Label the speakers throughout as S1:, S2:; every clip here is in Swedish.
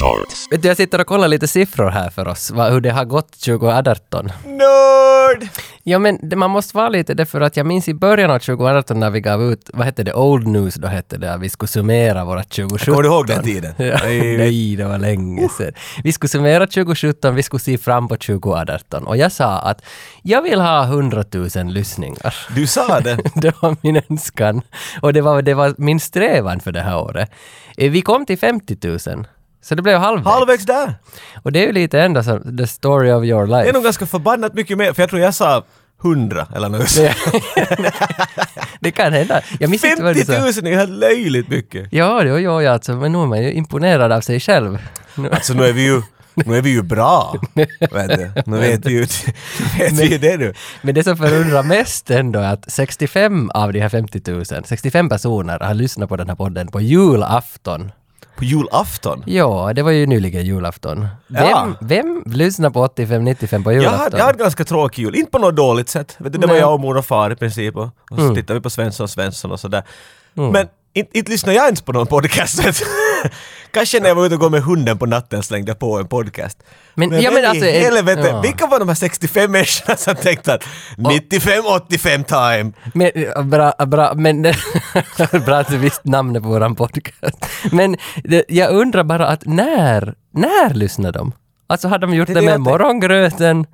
S1: Shorts.
S2: Vet du, jag sitter och kollar lite siffror här för oss, vad, hur det har gått 2018.
S3: Nörd!
S2: Ja, men det, man måste vara lite det för att jag minns i början av 2018 när vi gav ut, vad hette det, Old News då hette det, att vi skulle summera våra 2017.
S3: Kommer du Uh. ihåg den tiden?
S2: Ja, nej, det var länge sedan. Vi skulle summera 2017, vi skulle se fram på 2018 och jag sa att jag vill ha 100 000 lyssningar.
S3: Du sa det.
S2: det var min önskan och det var, det var min strävan för det här året. Eh, Vi kom till 50 000. Så det blev halvvägs.
S3: Halvvägs där.
S2: Och det är ju lite ändå som the story of your
S3: Det är
S2: life.
S3: nog ganska förbannat mycket mer, för jag tror jag sa 100 eller något. sånt.
S2: det kan hända. Jag minns inte vad du
S3: 50 000
S2: sa.
S3: är ju helt löjligt mycket.
S2: Ja, jo, jo, ja, alltså, men nu är man ju imponerad av sig själv. Nu-
S3: Alltså nu är vi ju, nu är vi ju bra. Vet du. Nu vet vi ju vet vi ju det nu.
S2: Men det som förundrar mest ändå är att 65 av de här 50 000, 65 personer har lyssnat på den här podden på julafton.
S3: På julafton.
S2: Ja, det var ju nyligen julafton. Vem,
S3: Ja.
S2: vem lyssnar på 85-95 på
S3: Jag hade,
S2: julafton?
S3: jag hade ganska tråkig jul, inte på något dåligt sätt. Vet du, det var
S2: Nej. Mm.
S3: jag och mor och far i princip och, och så tittade vi på Svensson och Svensson och sådär. Men inte, inte lyssnade jag ens på någon podcast. Kanske när jag var ute och gå med hunden på natten slängde jag på en podcast.
S2: Men- ja, men
S3: i
S2: alltså, en-
S3: helvete,
S2: ja.
S3: vilka var de här 65 människorna som tänkte att 95-85 time?
S2: Men, eh, bra, bra, men, bra att du visste namnet på våran podcast. Men det, jag undrar bara att när, när lyssnar de? Alltså hade de gjort
S3: Det
S2: det,
S3: är det
S2: med
S3: jag tänker.
S2: morgongröten?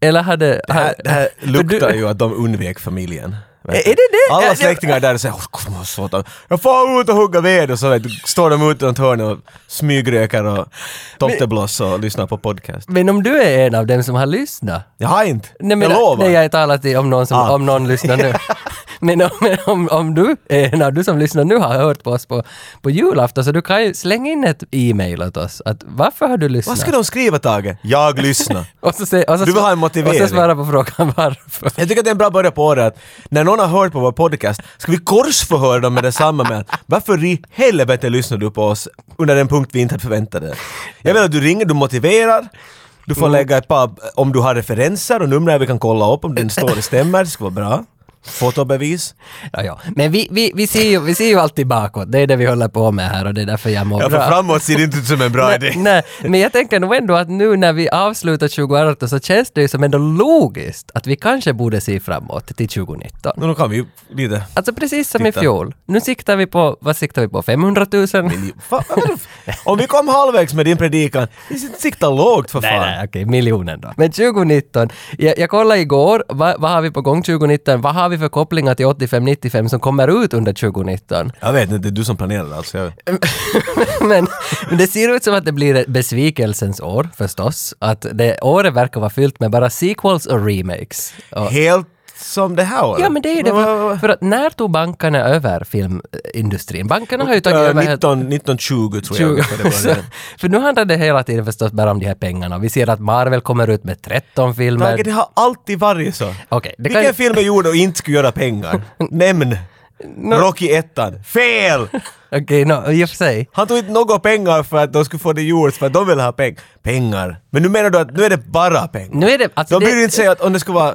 S2: Eller hade...
S3: Det här, det här
S2: för
S3: luktar
S2: du,
S3: ju att de undvek familjen. Vet
S2: Är
S3: du.
S2: det det? Ja,
S3: Alla
S2: det-
S3: släktingar där säger "Åh, vad svårt att- jag far ut och hugga ved och så vet du, står de ute runt hörnet och smygrökar och tomtebloss och lyssnar på podcast.
S2: Men om du är en av dem som har lyssnat?
S3: Jag har inte.
S2: Nej, men,
S3: jag lovar.
S2: Nej, jag talar till om någon, som,
S3: Ah.
S2: om någon lyssnar nu. men om, men om, om du är en av du som lyssnar nu har hört på oss på, på julafton så du kan ju slänga in ett e-mail åt oss. Att, varför har du lyssnat?
S3: Vad ska de skriva Tage? Jag lyssnar.
S2: Och så, se- och så,
S3: Du vill ha en
S2: Och
S3: motivering.
S2: så svara på frågan varför.
S3: Jag tycker att det är en bra början på året att när någon har hört på vår podcast ska vi korsförhöra dem med detsamma med att varför i helvete lyssnar du på oss under den punkt vi inte hade förväntat dig? Jag vill att du ringer, du motiverar, du
S2: Mm.
S3: får lägga ett par, om du har referenser och nummer vi kan kolla upp om din story stämmer, det skulle vara bra. Fotobevis.
S2: Ja, ja. Men vi, vi, vi, ser ju, vi ser ju alltid bakåt, det är det vi håller på med här och det är därför jag mår
S3: Ja, för
S2: bra.
S3: framåt ser det inte ut som en bra idé.
S2: Nej, nej, men jag tänker nog ändå att nu när vi avslutar 2018 så känns det ju som ändå logiskt att vi kanske borde se framåt till 2019.
S3: Men då kan vi ju lite...
S2: Alltså precis som i
S3: Titta.
S2: fjol. Nu siktar vi på, vad siktar vi på, 500 000?
S3: Fan, vad är det- om vi kom halvvägs med din predikan, vi siktar lågt för
S2: Nej,
S3: fan.
S2: nej, okej, miljonen då. Men 2019, jag, jag kollade igår, vad, vad har vi på gång 2019? Vad har vi för kopplingar till 85-95 som kommer ut under 2019?
S3: Jag vet inte, det är du som planerar alltså. Jag...
S2: men, men det ser ut som att det blir ett besvikelsens år förstås. Att det året verkar vara fyllt med bara sequels och remakes. Och,
S3: Helt som det här året?
S2: ja men det är ju det. För, för att när tog bankarna över filmindustrin? Bankarna har ju tagit
S3: Eh,
S2: över
S3: 19, 1920 tror jag. ungefär det var
S2: Så-
S3: det.
S2: för nu handlar det hela tiden förstås bara om de här pengarna. Vi ser att Marvel kommer ut med 13 filmer.
S3: Tage, det har alltid varit så.
S2: Okej, det kan ju-
S3: Vilken film är gjord och inte skulle göra pengar? Nämn! Rocky 1. Fel!
S2: Okej, nå, i och för sig.
S3: Han tog inte några pengar för att de skulle få det gjort, för att de ville ha peng. pengar. Men nu menar du att nu är det bara pengar?
S2: Nu är det... Alltså,
S3: de
S2: det,
S3: bryr inte sig att om det skulle vara...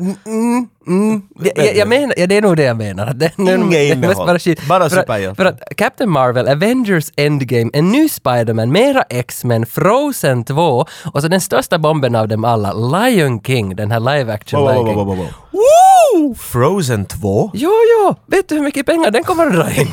S2: det, jag, jag menar, Mm. ja, det är nog det jag menar. Att Det, nu-
S3: Inget
S2: det är
S3: innehåll.
S2: Bara, shit.
S3: Bara
S2: för, att,
S3: superhjältar.
S2: för att Captain Marvel, Avengers Endgame, en ny Spider-Man, mera X-Men, Frozen 2 och så den största bomben av dem alla, Lion King, den här live action
S3: Wow, wow,
S2: Lion King.
S3: wow, wow, wow, wow.
S2: Woo!
S3: Frozen 2?
S2: Jo, jo! Vet du hur mycket pengar den kommer att dra in?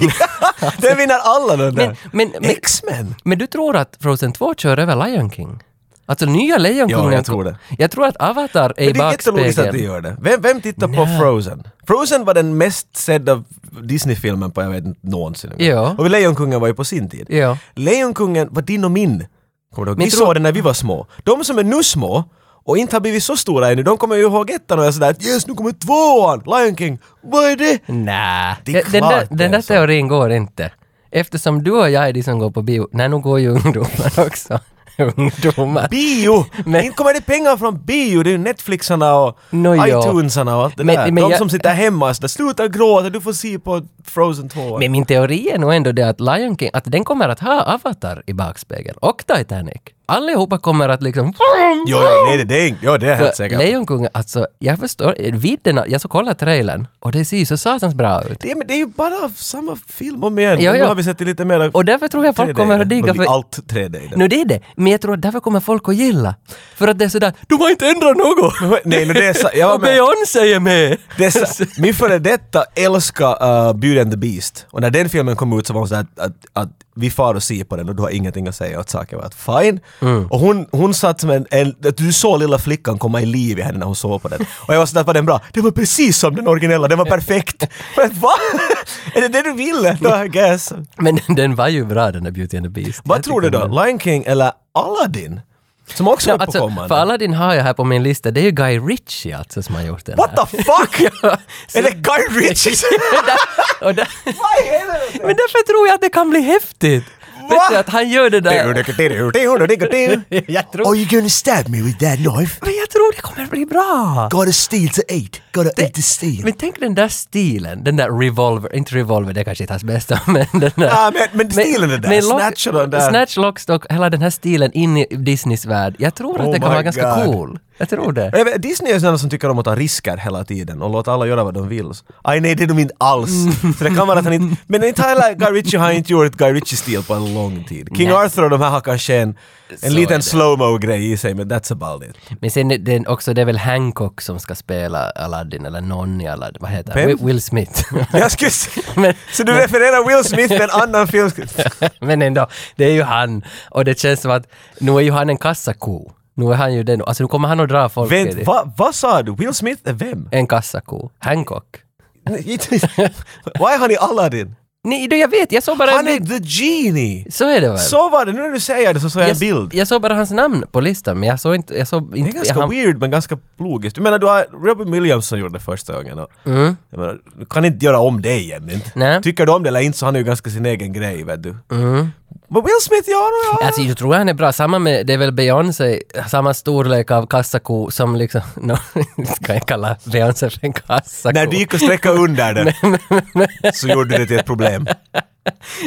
S3: Den vinner alla de där!
S2: men- men-
S3: X-Men!
S2: Men du tror att Frozen 2 kör över Lion King? Alltså nya Lejonkungen?
S3: Ja, jag tror det.
S2: Jag tror att Avatar är i
S3: Men det är jättelogiskt att
S2: backspegeln.
S3: de gör det. Vem, vem tittar på Frozen? Frozen var den mest sedda Disney-filmen på jag vet inte någonsin.
S2: Ja.
S3: Och Lejonkungen var ju på sin tid.
S2: Ja.
S3: Lejonkungen var din och min. Kommer du ihåg?
S2: Men
S3: Vi
S2: tror-
S3: såg den när vi var små. De som är nu små och inte har blivit så stora ännu, de kommer ju ihåg ettan och är sådär att yes, nu kommer tvåan! Lion King! Vad är det?
S2: Nä.
S3: Det är
S2: den där,
S3: klart det alltså. är
S2: den där
S3: så.
S2: teorin går inte. Eftersom du och jag är de som går på bio. Nej, nu går ju ungdomar också. ungdomar.
S3: Bio!
S2: Men-
S3: Inte kommer det pengar från bio, det är ju Netflixarna och
S2: Nå, ja.
S3: iTunesarna och allt det
S2: Men-
S3: där.
S2: men
S3: de
S2: jag-
S3: som sitter hemma och sådär, sluta gråta, du får se på Frozen 2.
S2: Men min teori är nog ändå det att Lion King, att den kommer att ha Avatar i backspegeln. Och Titanic. allihopa kommer att liksom...
S3: Jo, jo, nej, det, det är, jo, det är helt
S2: För
S3: säkert.
S2: Lejonkungen, alltså jag förstår, vidden, av- jag så kollade trailern och det ser ju så satans bra ut.
S3: Det, är- men det är ju bara samma film om igen.
S2: Ja,
S3: Nu
S2: ja.
S3: har vi sett det lite mer
S2: Och därför tror jag folk
S3: 3D.
S2: kommer att digga
S3: Någonting-
S2: för...
S3: Allt 3D i den.
S2: Nu det är det, men jag tror att därför kommer folk att gilla. För att det är sådär, de har inte ändrat något!
S3: Nej, men det är så, jag var
S2: Och
S3: med.
S2: Beyoncé är med!
S3: Det är så, min före detta älskar uh, Beauty and the Beast. Och när den filmen kom ut så var hon såhär att, att, att vi far och ser på den och du har ingenting att säga åt saken. Jag var att fine.
S2: Mm.
S3: Och hon, hon satt som en, en... att Du såg lilla flickan komma i liv i henne när hon såg på den. Och jag var sådär, var den bra? Det var precis som den originella, den var perfekt. Men va? Är det det du ville? No, I guess.
S2: Men den, den var ju bra den där Beauty and the Beast.
S3: Vad
S2: Jag
S3: tror du
S2: tycker
S3: då? Lion King eller Aladdin? Som också
S2: Ja,
S3: är
S2: alltså,
S3: uppåkommande.
S2: för Aladdin har jag här på min lista, det är ju Guy Ritchie alltså som har gjort den
S3: What
S2: här.
S3: the fuck?
S2: så-
S3: är det Guy Ritchie?
S2: och där,
S3: Vad i helvete?
S2: men därför tror jag att det kan bli häftigt! Vet du att han gör det där... Jag tror,
S3: Are you gonna stab me with that knife?
S2: men jag tror det kommer bli bra!
S3: Gotta steal to eight, gotta eight to steal.
S2: Men tänk den där stilen, den där revolver, inte revolver, det kanske inte är hans bästa, men den där...
S3: Ja, men- men stilen är där, Snatch och den där.
S2: Snatch, Lockstock, hela den här stilen in i Disneys värld. Jag tror att
S3: Oh
S2: det kan
S3: my
S2: vara ganska
S3: God.
S2: cool. Jag tror det.
S3: Jag vet, Disney är sådana som tycker om att ta risker hela tiden och låta alla göra vad de vill. Aj nej, det är de inte alls.
S2: Mm.
S3: Så det kan vara att han inte... Men inte heller Guy Ritchie har inte gjort ett Guy Ritchie-stil på en lång tid. King
S2: Nej.
S3: Arthur och de här har kanske en, en
S2: Så är
S3: liten
S2: det.
S3: slow-mo grej i sig, men that's about it.
S2: Men sen är det också, det är väl Hancock som ska spela Aladdin, eller någon i Aladdin, vad heter han?
S3: Vem?
S2: Will- Will Smith.
S3: Jag skulle, s-
S2: men,
S3: så du refererar Will Smith med en annan film?
S2: men ändå, det är ju han. Och det känns som att, nu är ju han en kassako. Nu är han ju den, alltså nu kommer han att dra folk i
S3: Vänt,
S2: det.
S3: vad vad sa du? Will Smith är vem?
S2: En kassako. Hancock.
S3: Vad är han i Aladdin?
S2: Nej, du, jag vet, jag såg bara en
S3: Han är
S2: bild.
S3: the genie!
S2: Så är det väl?
S3: Så var det, nu när du säger det så såg jag en
S2: jag,
S3: bild.
S2: jag såg bara hans namn på listan, men jag såg inte... Jag såg
S3: Det
S2: inte
S3: är ganska
S2: han,
S3: weird men ganska logiskt. Du menar du har Robin Williams som gjorde det första gången och jag menar, du kan inte göra om det igen inte.
S2: Mm. Nej. Mm.
S3: Tycker du om det eller inte så han är ju ganska sin egen grej vet du. Men Will Smith, ja, ja.
S2: Alltså jag tror han är bra, samma med, det är väl Beyoncé, samma storlek av kassako som liksom, no, kan jag kalla Beyoncé för en kassako?
S3: När du gick och sträcka under det så gjorde du det till ett problem.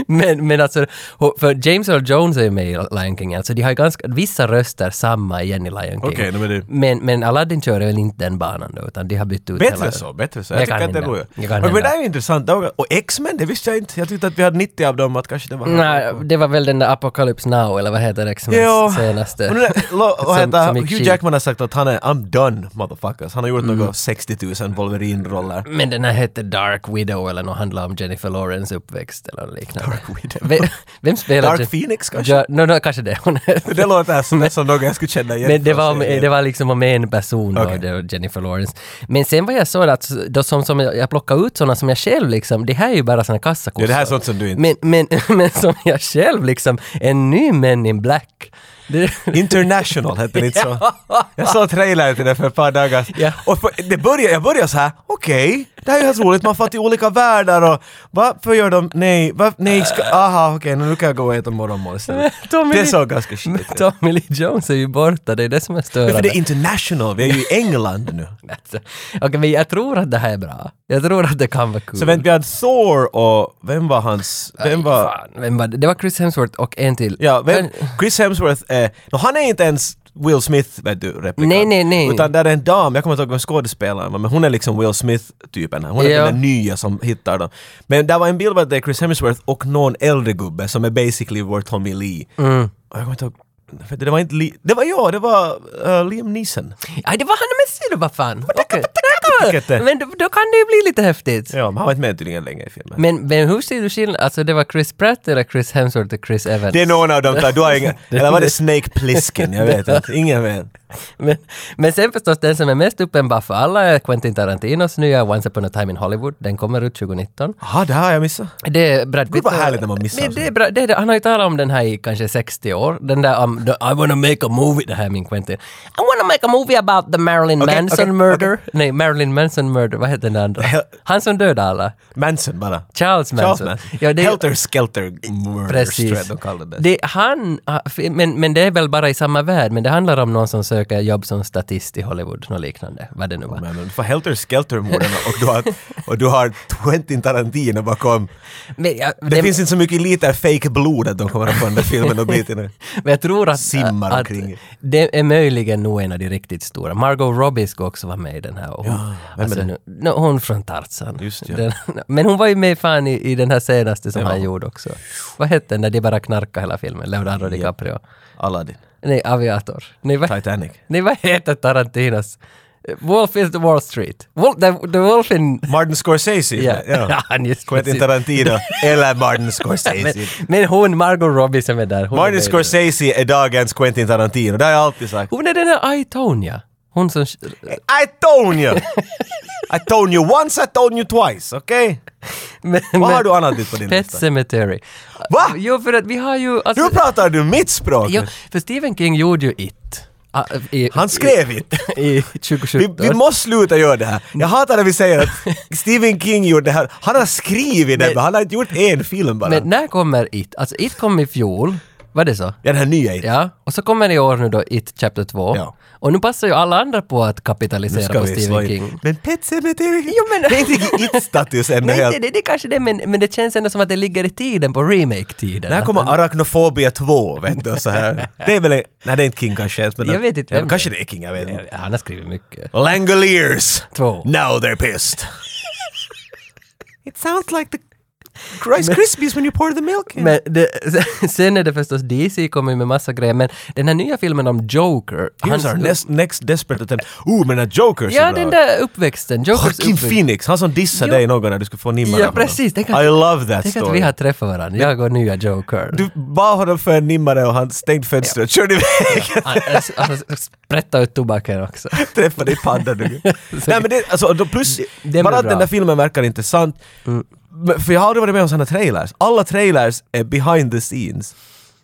S2: men, men alltså, ho- för James Earl Jones är ju med i Lion King, alltså de har ju ganska, vissa röster samma igen i Lion King.
S3: Okej, nej, men det-
S2: men, men Aladdin kör väl inte den banan då, utan de har bytt ut hela-
S3: Bättre så, bättre så. Jag
S2: Det
S3: tycker
S2: kan
S3: att det är
S2: hända.
S3: roligt.
S2: Det kan
S3: Men men det
S2: hända.
S3: där är ju intressant. Det var- Och X-Men, det visste jag inte. Jag tyckte att vi hade 90 av dem, att kanske det var...
S2: Nej, det var väl den där Apocalypse Now, eller vad heter X-Mens
S3: Jo.
S2: senaste?
S3: Och nu när- lo- vad
S2: Som-
S3: heter-
S2: som Mm. gick
S3: Hugh
S2: skit.
S3: Jackman har sagt att han är I'm done motherfuckers. Han har gjort några 60 000 Wolverine-roller.
S2: Men den här hette Dark Widow eller något handlar om Jennifer Lawrence uppväxt eller något liknande.
S3: Dark Widow.
S2: Vem, vem spelar
S3: Dark
S2: Jen-
S3: Phoenix kanske?
S2: Ja, no, no, kanske det hon heter.
S3: Det låter som, som något jag skulle känna igen.
S2: Men det
S3: från
S2: var,
S3: serien.
S2: det var liksom om en person då,
S3: Okej.
S2: det var Jennifer Lawrence. Men sen vad jag såg, att då som, som jag, jag plockade ut sådana som jag själv liksom, det här är ju bara såna kassakossor.
S3: Ja, det här är sånt som du inte...
S2: men, men, men som jag själv liksom, en ny Men in Black. Det,
S3: International hette det inte så? Jag såg trailern till det för ett par dagar
S2: Ja.
S3: Och för, det började, jag började så här, okej, det här är ju helt roligt, man får till olika världar och varför gör de, nej, var, nej, ska, aha, okej, nu kan jag gå och äta morgonmål istället.
S2: Tommy
S3: Det
S2: Lee-
S3: såg ganska shit ut.
S2: Tommy Lee Jones är ju borta, det är det som är
S3: Men för det
S2: störande.
S3: är international, vi är ju i England nu.
S2: Alltså, Okej, men jag tror att det här är bra. Jag tror att det kan vara kul.
S3: Så vänta, vi hade Thor och vem var hans... Vem var...
S2: Fan, vem var det? det var Chris Hemsworth och en till.
S3: Ja, vem,
S2: Men-
S3: Chris Hemsworth är... No, han är inte ens Will Smith, vet du, replikant.
S2: Nej, nej, nej.
S3: Utan där är en dam, jag kommer inte ihåg vem skådespelaren var, men hon är liksom Will Smith-typen. här. Hon är
S2: Ja.
S3: den där nya som hittar dem. Men där var en bild på att det är Chris Hemsworth och någon äldre gubbe som är basically vår Tommy Lee.
S2: Mm.
S3: Och jag kommer inte ihåg... vet du, Det var inte Lee... Det var jag, det var eh, Liam Neeson.
S2: Aj, det var han med ser du vad fan! Okej.
S3: det-
S2: Men då, då kan det ju bli lite häftigt.
S3: Ja, men han var inte med tydligen länge i filmen.
S2: Men, men hur ser du skillnad? Alltså det var Chris Pratt eller Chris Hemsworth och Chris Evans?
S3: Det är någon av dem, där. du har ingen... Eller var det Snake Plissken? Jag vet inte. Ingen vet.
S2: men, men sen förstås den som är mest uppenbar för alla är Quentin Tarantinos nya Once upon a time in Hollywood. Den kommer ut 2019.
S3: Jaha, det här har jag missat.
S2: Det är Brad Pitt.
S3: Gud vad
S2: och-
S3: härligt när man missar
S2: Men
S3: sånt.
S2: det är bra, det är det. Han har ju talat om den här i kanske 60 år. Den där um, the, I wanna make a movie, det här är min Quentin. I wanna make a movie about the Marilyn
S3: Okej,
S2: Manson
S3: okej,
S2: murder. Nej, Marilyn Marilyn Manson murder, vad heter den andra?
S3: Hel-
S2: Han som dödade alla.
S3: Manson bara.
S2: Charles Manson.
S3: Charles Manson.
S2: Ja, det är-
S3: Helter Skelter Murders tror jag
S2: Precis.
S3: de kallar det.
S2: Det, han, ah, men, men det är väl bara i samma värld, men det handlar om någon som söker jobb som statist i Hollywood, något liknande, vad det nu var.
S3: Men, men, du får Helter Skelter-morden och, du har- och du har Quentin Tarantino bakom.
S2: Men jag,
S3: Det,
S2: det,
S3: finns inte så mycket lite fake blod att de kommer att få den där filmen och bli till det.
S2: men jag tror att,
S3: simmar
S2: att
S3: omkring.
S2: det är möjligen nog en av de riktigt stora. Margot Robbie ska också vara med i den här. Och hon, alltså
S3: vem är det?
S2: nu, no, hon från Tarzan.
S3: Just ja.
S2: Den, men hon var ju med fan i, i den här senaste som
S3: Det var
S2: han
S3: hon.
S2: gjorde också. Vad hette den där de bara knarkade hela filmen? Leonardo DiCaprio.
S3: Aladdin.
S2: Nej, Aviator. Nej, vad,
S3: Titanic.
S2: nej, vad heter Tarantinos? Wolf is the Wall Street. Wolf, the, the Wolf in... Ah,
S3: Martin Scorsese.
S2: Ja,
S3: Ja.
S2: han just
S3: Quentin
S2: precis.
S3: Tarantino eller Martin
S2: men,
S3: Scorsese.
S2: men hon, Margot Robbie som är där. Hon är med
S3: Martin
S2: i den.
S3: Scorsese är dagens Quentin Tarantino, det har jag alltid sagt.
S2: Hon är den där Aitonia. Hon som...
S3: I told you! I told you once, I told you twice, okej?
S2: Men,
S3: Vad har du annat dit på din
S2: Pet
S3: lista?
S2: Cemetery.
S3: Va?
S2: Jo, för att vi har ju... Alltså,
S3: Nu pratar du mitt språk!
S2: jo, för Stephen King gjorde ju It. Ah, i-
S3: Han skrev inte!
S2: I, i
S3: Vi,
S2: 2017.
S3: vi måste sluta göra det här. Jag hatar när vi säger att Stephen King gjorde det här. Han har skrivit det, men, han har inte gjort en film bara.
S2: Men när kommer It? Alltså It kom i fjol. Var det så?
S3: ja, den här nya It.
S2: Ja, och så kommer i år nu då It Chapter 2.
S3: Ja.
S2: Och nu passar ju alla andra på att
S3: Nu
S2: kapitalisera
S3: ska
S2: på
S3: vi slå
S2: Stephen
S3: in.
S2: King.
S3: Men Pet Sematary,
S2: Jo, men-
S3: det är inte riktigt It-status ännu
S2: Nej,
S3: helt.
S2: det, det, det kanske det, men, men det känns ändå som att det ligger i tiden på remake-tiden.
S3: När kommer Arachnophobia 2? Vet du, så här. Det är väl en, Nej, det är inte King kanske. ens, Men
S2: Jag vet inte
S3: Ja,
S2: vem det
S3: kanske det är King, jag vet inte.
S2: Ja, Han har skrivit mycket.
S3: Langoliers!
S2: Två.
S3: Now they're pissed. It sounds like the Rice Krispies when you pour the milk in.
S2: Men det, sen är det förstås DC kommer ju med massa grejer, men den här nya filmen om Joker.
S3: Here's our next, next desperate attempt. Ooh, men den här Joker
S2: ja, den där uppväxten. Jokers
S3: Joaquin
S2: uppväxt.
S3: Phoenix, han som dissade
S2: Jo.
S3: dig någon när du skulle få nimmarna
S2: Ja,
S3: av honom.
S2: precis. Tänk att-
S3: I love that
S2: Tänk att
S3: story.
S2: vi har träffat varandra, jag och nya Joker.
S3: Du bad honom för en nimmare och han stängde fönstret och körde iväg.
S2: Han, han sprättar Alltså, ut tobaken också.
S3: träffa dig i pandan. Nej men det, alltså, då plus,
S2: den
S3: bara
S2: är
S3: att
S2: bra. Mm.
S3: den där filmen verkar intressant. Men- För jag har aldrig varit med om sådana trailers. Alla trailers är behind the scenes.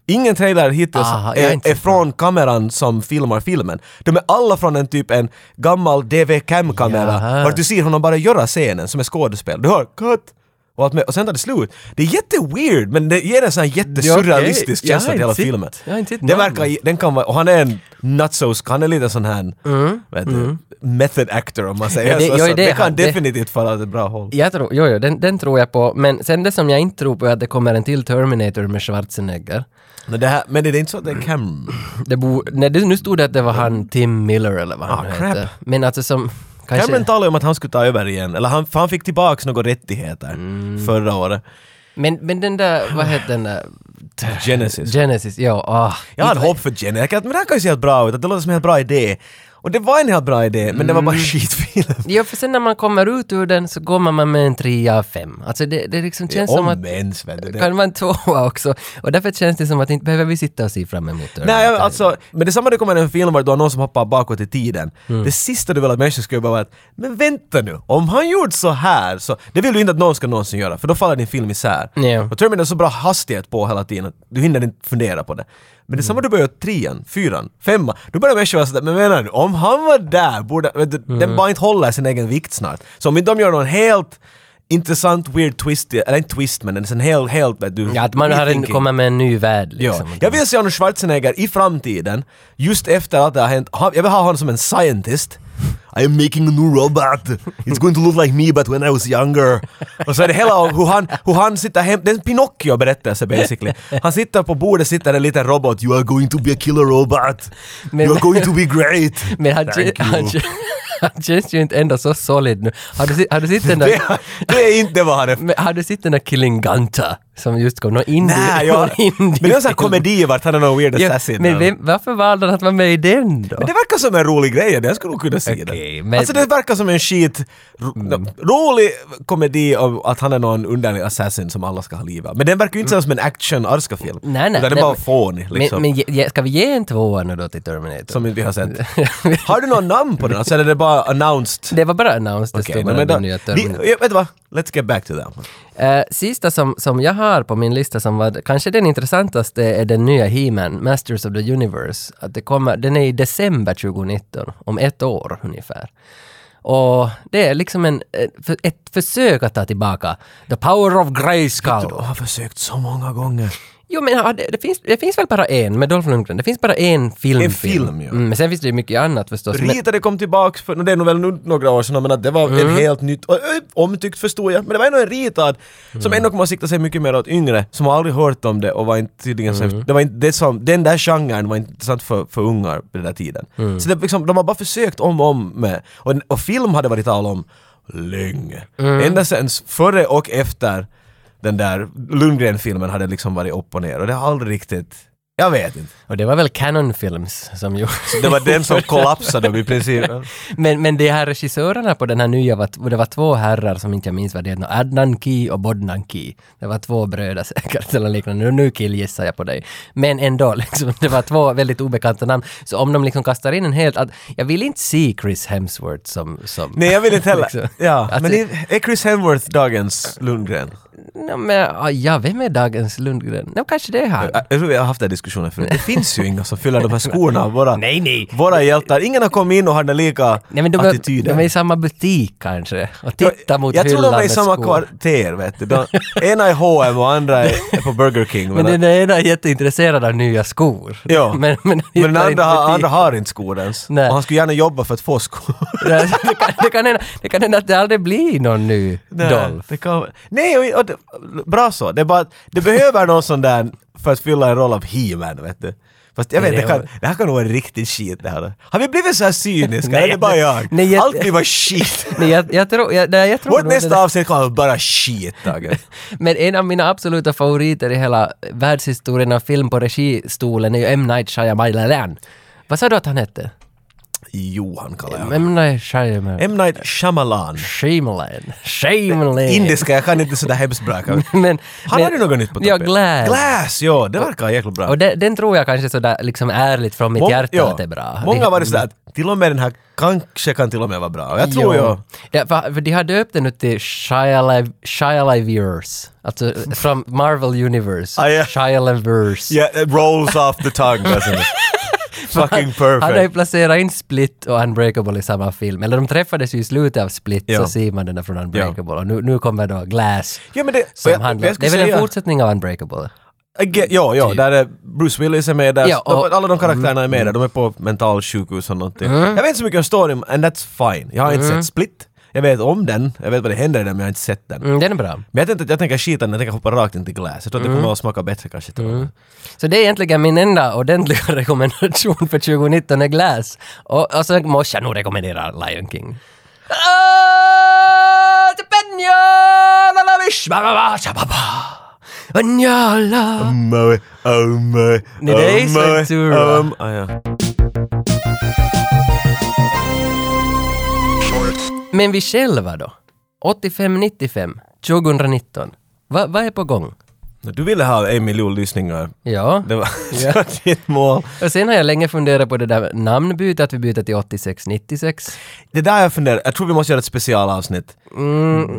S3: Ingen trailer hittills
S2: Aha, jag är
S3: är,
S2: inte
S3: är
S2: så
S3: från kameran som filmar filmen. De är alla från en typ en gammal DV-cam-kamera
S2: Jaha.
S3: vart du ser honom bara göra scenen som är skådespel. Du hör cut! Och, allt med, och sen tar det slut. Det är jätteweird men det ger en sån här jättesurrealistisk
S2: okej. Jag har
S3: känsla till
S2: inte
S3: hela
S2: sett-
S3: filmen.
S2: jag har inte sett
S3: det
S2: någon.
S3: verkar i- den kan vara, och han är en nutsos, han är lite sån här, vet du, method actor om man säger
S2: Mm. Ja, det-
S3: så.
S2: ja,
S3: så
S2: det-
S3: det kan
S2: det-
S3: definitivt falla åt ett bra håll.
S2: Jag tror, jo, jo, den, den tror jag på, men sen det som jag inte tror på är att det kommer en till Terminator med Schwarzenegger.
S3: Men, det här, men det är inte så att det är
S2: Mm.
S3: Cam...
S2: Det bo, nej, det, nu stod det att det var han Tim Miller eller vad han
S3: Ah,
S2: nu
S3: crap.
S2: heter. Men alltså som... Kanske,
S3: Cameron talade om att han skulle ta över igen, eller han, för han fick tillbaks några rättigheter
S2: Mm.
S3: förra året.
S2: men, men den där, vad heter den där?
S3: Genesis.
S2: Genesis, ja. ah.
S3: Jag hade hopp för Jenny. Jag kan, men det här kan ju se helt bra ut, att det låter som en helt bra idé. Och det var en helt bra idé, men det var
S2: Mm.
S3: bara skitfilm.
S2: Ja, för sen när man kommer ut ur den så kommer man med en trea av fem. Alltså det, det liksom känns som att...
S3: Om ens, vet du. det-
S2: Kan man tvåa också? Och därför känns det som att inte behöver vi sitta och se fram emot Terminator.
S3: Nej, jag, alltså, men det samma det kommer en film var du har någon som hoppar bakåt i tiden.
S2: Mm.
S3: Det sista du vill att människor ska göra är att men vänta nu, om han gjort så här, så, det vill du inte att någon ska någonsin göra, för då faller din film isär.
S2: Ja.
S3: Och Terminator har så bra hastighet på hela tiden, att du hinner inte fundera på det.
S2: Mm.
S3: Men det samma du börjar trean, fyran, femman, då börjar människor vara sådär, men menar du, om han var där, borde, vet du,
S2: Mm.
S3: den bara inte håller sin egen vikt snart. Så om inte de gör någon helt intressant weird twist, eller inte twist men en sån helt, helt, vet du,
S2: Ja, Mm, att man har en,
S3: rethinking.
S2: kommer med en ny värld
S3: Ja.
S2: liksom.
S3: Jag vill se Arnold Schwarzenegger i framtiden, just efter att det har hänt. Han- Jag vill ha honom som en scientist. I am making a new robot. It's going to look like me but when I was younger. Och så är det hela hur han, hur han sitter hem. Det är en Pinocchio-berättelse basically. Han sitter på bordet, sitter en liten robot. You are going to be a killer robot.
S2: Men-
S3: you are going to be great.
S2: Men han,
S3: Thank
S2: han,
S3: you.
S2: han känns ju inte ändå så solid nu. Har du, se- har du sett den
S3: Det,
S2: där...
S3: det är inte vad han är.
S2: Men har du sett den där Killing Ganta som just kom? Någon indie...
S3: Nej, jag,
S2: någon indie-
S3: men det är en sån här komedi vart han är någon weird
S2: Ja,
S3: assassin.
S2: men vem, varför valde han att vara med i den då?
S3: Men det verkar som en rolig grej, jag skulle nog kunna se
S2: Okej,
S3: den.
S2: men- Mm.
S3: Alltså det verkar som en skit... ro- Rolig komedi om att han är någon underlig assassin som alla ska ha liv av. Men den verkar ju inte som en action-arska-film.
S2: Mm. Nej, nej,
S3: Utan den
S2: nej,
S3: är bara
S2: men-
S3: fånig
S2: Men,
S3: liksom.
S2: men ge- ge- ska vi ge en tvåa nu då till Terminator?
S3: Som inte vi har sett. har du någon namn på den? Alltså, eller är det bara announced?
S2: Det var bara announced, det
S3: Okej,
S2: stod
S3: men
S2: bara den
S3: då-
S2: nya
S3: vi,
S2: Terminator.
S3: ja, vet du vad? Let's get back to that. one.
S2: Eh, sista som, som jag har på min lista som var kanske den intressantaste är den nya He-Man, Masters of the Universe. Att det kommer, den är i december 2019, om ett år ungefär. Och det är liksom en, eh, för- ett försök att ta tillbaka the power of Grayskull.
S3: Jag har försökt så många gånger.
S2: Jo men ja, det, det, finns, det finns väl bara en med Dolph Lundgren, det finns bara en film.
S3: En film, ja.
S2: Mm, men sen finns det ju mycket annat förstås. Men,
S3: Ritade kom tillbaks för, det är nog väl nu några år sedan, men att det var en helt nytt, och, ö, omtyckt förstod jag, men det var ändå en ritad som ändå kommer att sikta sig mycket mer åt yngre, som har aldrig hört om det och var inte tydligen så, det var inte, det som, den där genren var inte intressant för, för ungar på den där tiden. Så det, liksom, de har bara försökt om och om med, och, och film hade varit tal om länge. Ända sen före och efter den där Lundgren-filmen hade liksom varit upp och ner och det har aldrig riktigt, jag vet inte.
S2: och det var väl Canon Films som gjorde...
S3: Det var den som kollapsade då i princip.
S2: Men, men de här regissörerna på den här nya, var, det var två herrar som inte jag minns vad det hette, Adnan Ki och Bodnan Ki. Det var två bröder säkert eller liknande. Nu, nu killgissar jag på dig. Men ändå, liksom, det var två väldigt obekanta namn. Så om de liksom kastar in en helt... Att, jag vill inte se Chris Hemsworth som... som
S3: Nej, jag vill inte heller. Ja,
S2: Liksom. Att
S3: men
S2: det-
S3: är är Chris Hemworth dagens Lundgren?
S2: Nej, men, ah, ja, vem är dagens Lundgren? Nej, kanske det är han.
S3: Jag jag tror vi har haft den här diskussionen förut. Det finns ju inga som fyller de här skorna av våra,
S2: Nej, nej.
S3: våra hjältar. Ingen har kommit in och har den lika
S2: Nej, men de, är,
S3: attityden.
S2: de är i samma butik kanske och tittar mot
S3: jag tror
S2: hyllan
S3: de är i
S2: med
S3: samma
S2: skor.
S3: kvarter, vet du. De, ena är H&M och andra är är på Burger King.
S2: Men
S3: Men,
S2: den ena är jätteintresserad av nya skor.
S3: Ja.
S2: Men, men,
S3: men den
S2: hittar inte
S3: andra, har-
S2: butik.
S3: andra har inte skor ens.
S2: Nej.
S3: Och han skulle gärna jobba för att få skor.
S2: det, kan, det, kan hända, det kan hända att det aldrig blir någon ny
S3: Nej,
S2: Dolph.
S3: det kan, nej och, och, det- bra så. Det, är bara, att det behöver någon sån där för att fylla en roll av He-Man, vet du. Fast jag vet,
S2: Nej,
S3: det,
S2: det
S3: kan,
S2: var-
S3: det här kan nog vara riktigt skit det här. Har vi blivit så här cyniska?
S2: Nej,
S3: Nej, det är bara jag.
S2: nej, jag-
S3: Allt blir bara skit.
S2: Nej, jag, jag tror... Jag, nej, jag tror
S3: Vårt
S2: nog det
S3: nästa
S2: där-
S3: avsnitt kommer bara skit, Tage.
S2: Men en av mina absoluta favoriter i hela världshistorien av film på registolen är ju M. Night Shyamalan. Vad sa du att han hette?
S3: Johan kallar jag honom.
S2: M. Night Shyamalan.
S3: M. Night Shyamalan.
S2: Shyamalan. Shyamalan.
S3: Indiska, jag kan inte sådär hemskt bra. kanske.
S2: Men,
S3: Han
S2: men-
S3: hade något nytt på
S2: Ja,
S3: tapeten.
S2: Glass.
S3: Glass, ja. Det verkar jäkligt bra.
S2: Och den, den tror jag kanske sådär liksom ärligt från mitt
S3: Mång-
S2: hjärta
S3: ja.
S2: att det är bra.
S3: Många
S2: Det-
S3: har varit sådär att till och med den här kanske kan till och med vara bra. Och Jag tror jag...
S2: Ja, för, för de har döpt den ut till Shia Shia-Liverse. Alltså från Marvel Universe.
S3: Ah, ja.
S2: Shia-Liverse.
S3: Yeah, it rolls off the tongue. doesn't it? Fucking
S2: Han har ju
S3: perfect.
S2: placerat in Split och Unbreakable i samma film. Eller de träffades ju i slutet av Split, så
S3: Ja.
S2: ser man den där från Unbreakable. Och nu, nu kommer då Glass.
S3: Ja, men det,
S2: Som
S3: jag,
S2: handlar, det
S3: jag skulle
S2: är väl en
S3: säga,
S2: fortsättning av Unbreakable?
S3: Again, ja, ja, där är Bruce Willis är med där.
S2: Ja, och- Mm.
S3: de, alla de karaktärerna är med där. De är på mentalsjukhus och någonting. Jag vet inte så mycket om storyn, and that's fine. Jag har inte
S2: Mm.
S3: sett Split. Jag vet om den. Jag vet vad det händer i den, men jag har inte sett den.
S2: Mm, den är bra.
S3: Men jag tänkte att jag tänker skita den, jag tänker hoppa rakt in till Glass. Jag tror att
S2: Mm.
S3: det kommer att smaka bättre kanske. till och med.
S2: Så det är egentligen min enda ordentliga rekommendation för 2019 är Glass. Och, och så måste jag nog rekommendera Lion King. Ah, jalapeno, lalavish, bababa, shababa. Vanjala.
S3: Moe, oh moe,
S2: Ni, det är Sventura.
S3: um, ah, ja.
S2: Men vi själva då? 85, 95, 2019. Va- Vad är på gång?
S3: Du ville ha en miljon lyssningar.
S2: Ja.
S3: Det var yeah. ditt mål.
S2: Och sen har jag länge funderat på det där namnbytet, att vi byter till 86, 96.
S3: Det där jag funderar, jag tror vi måste göra ett specialavsnitt.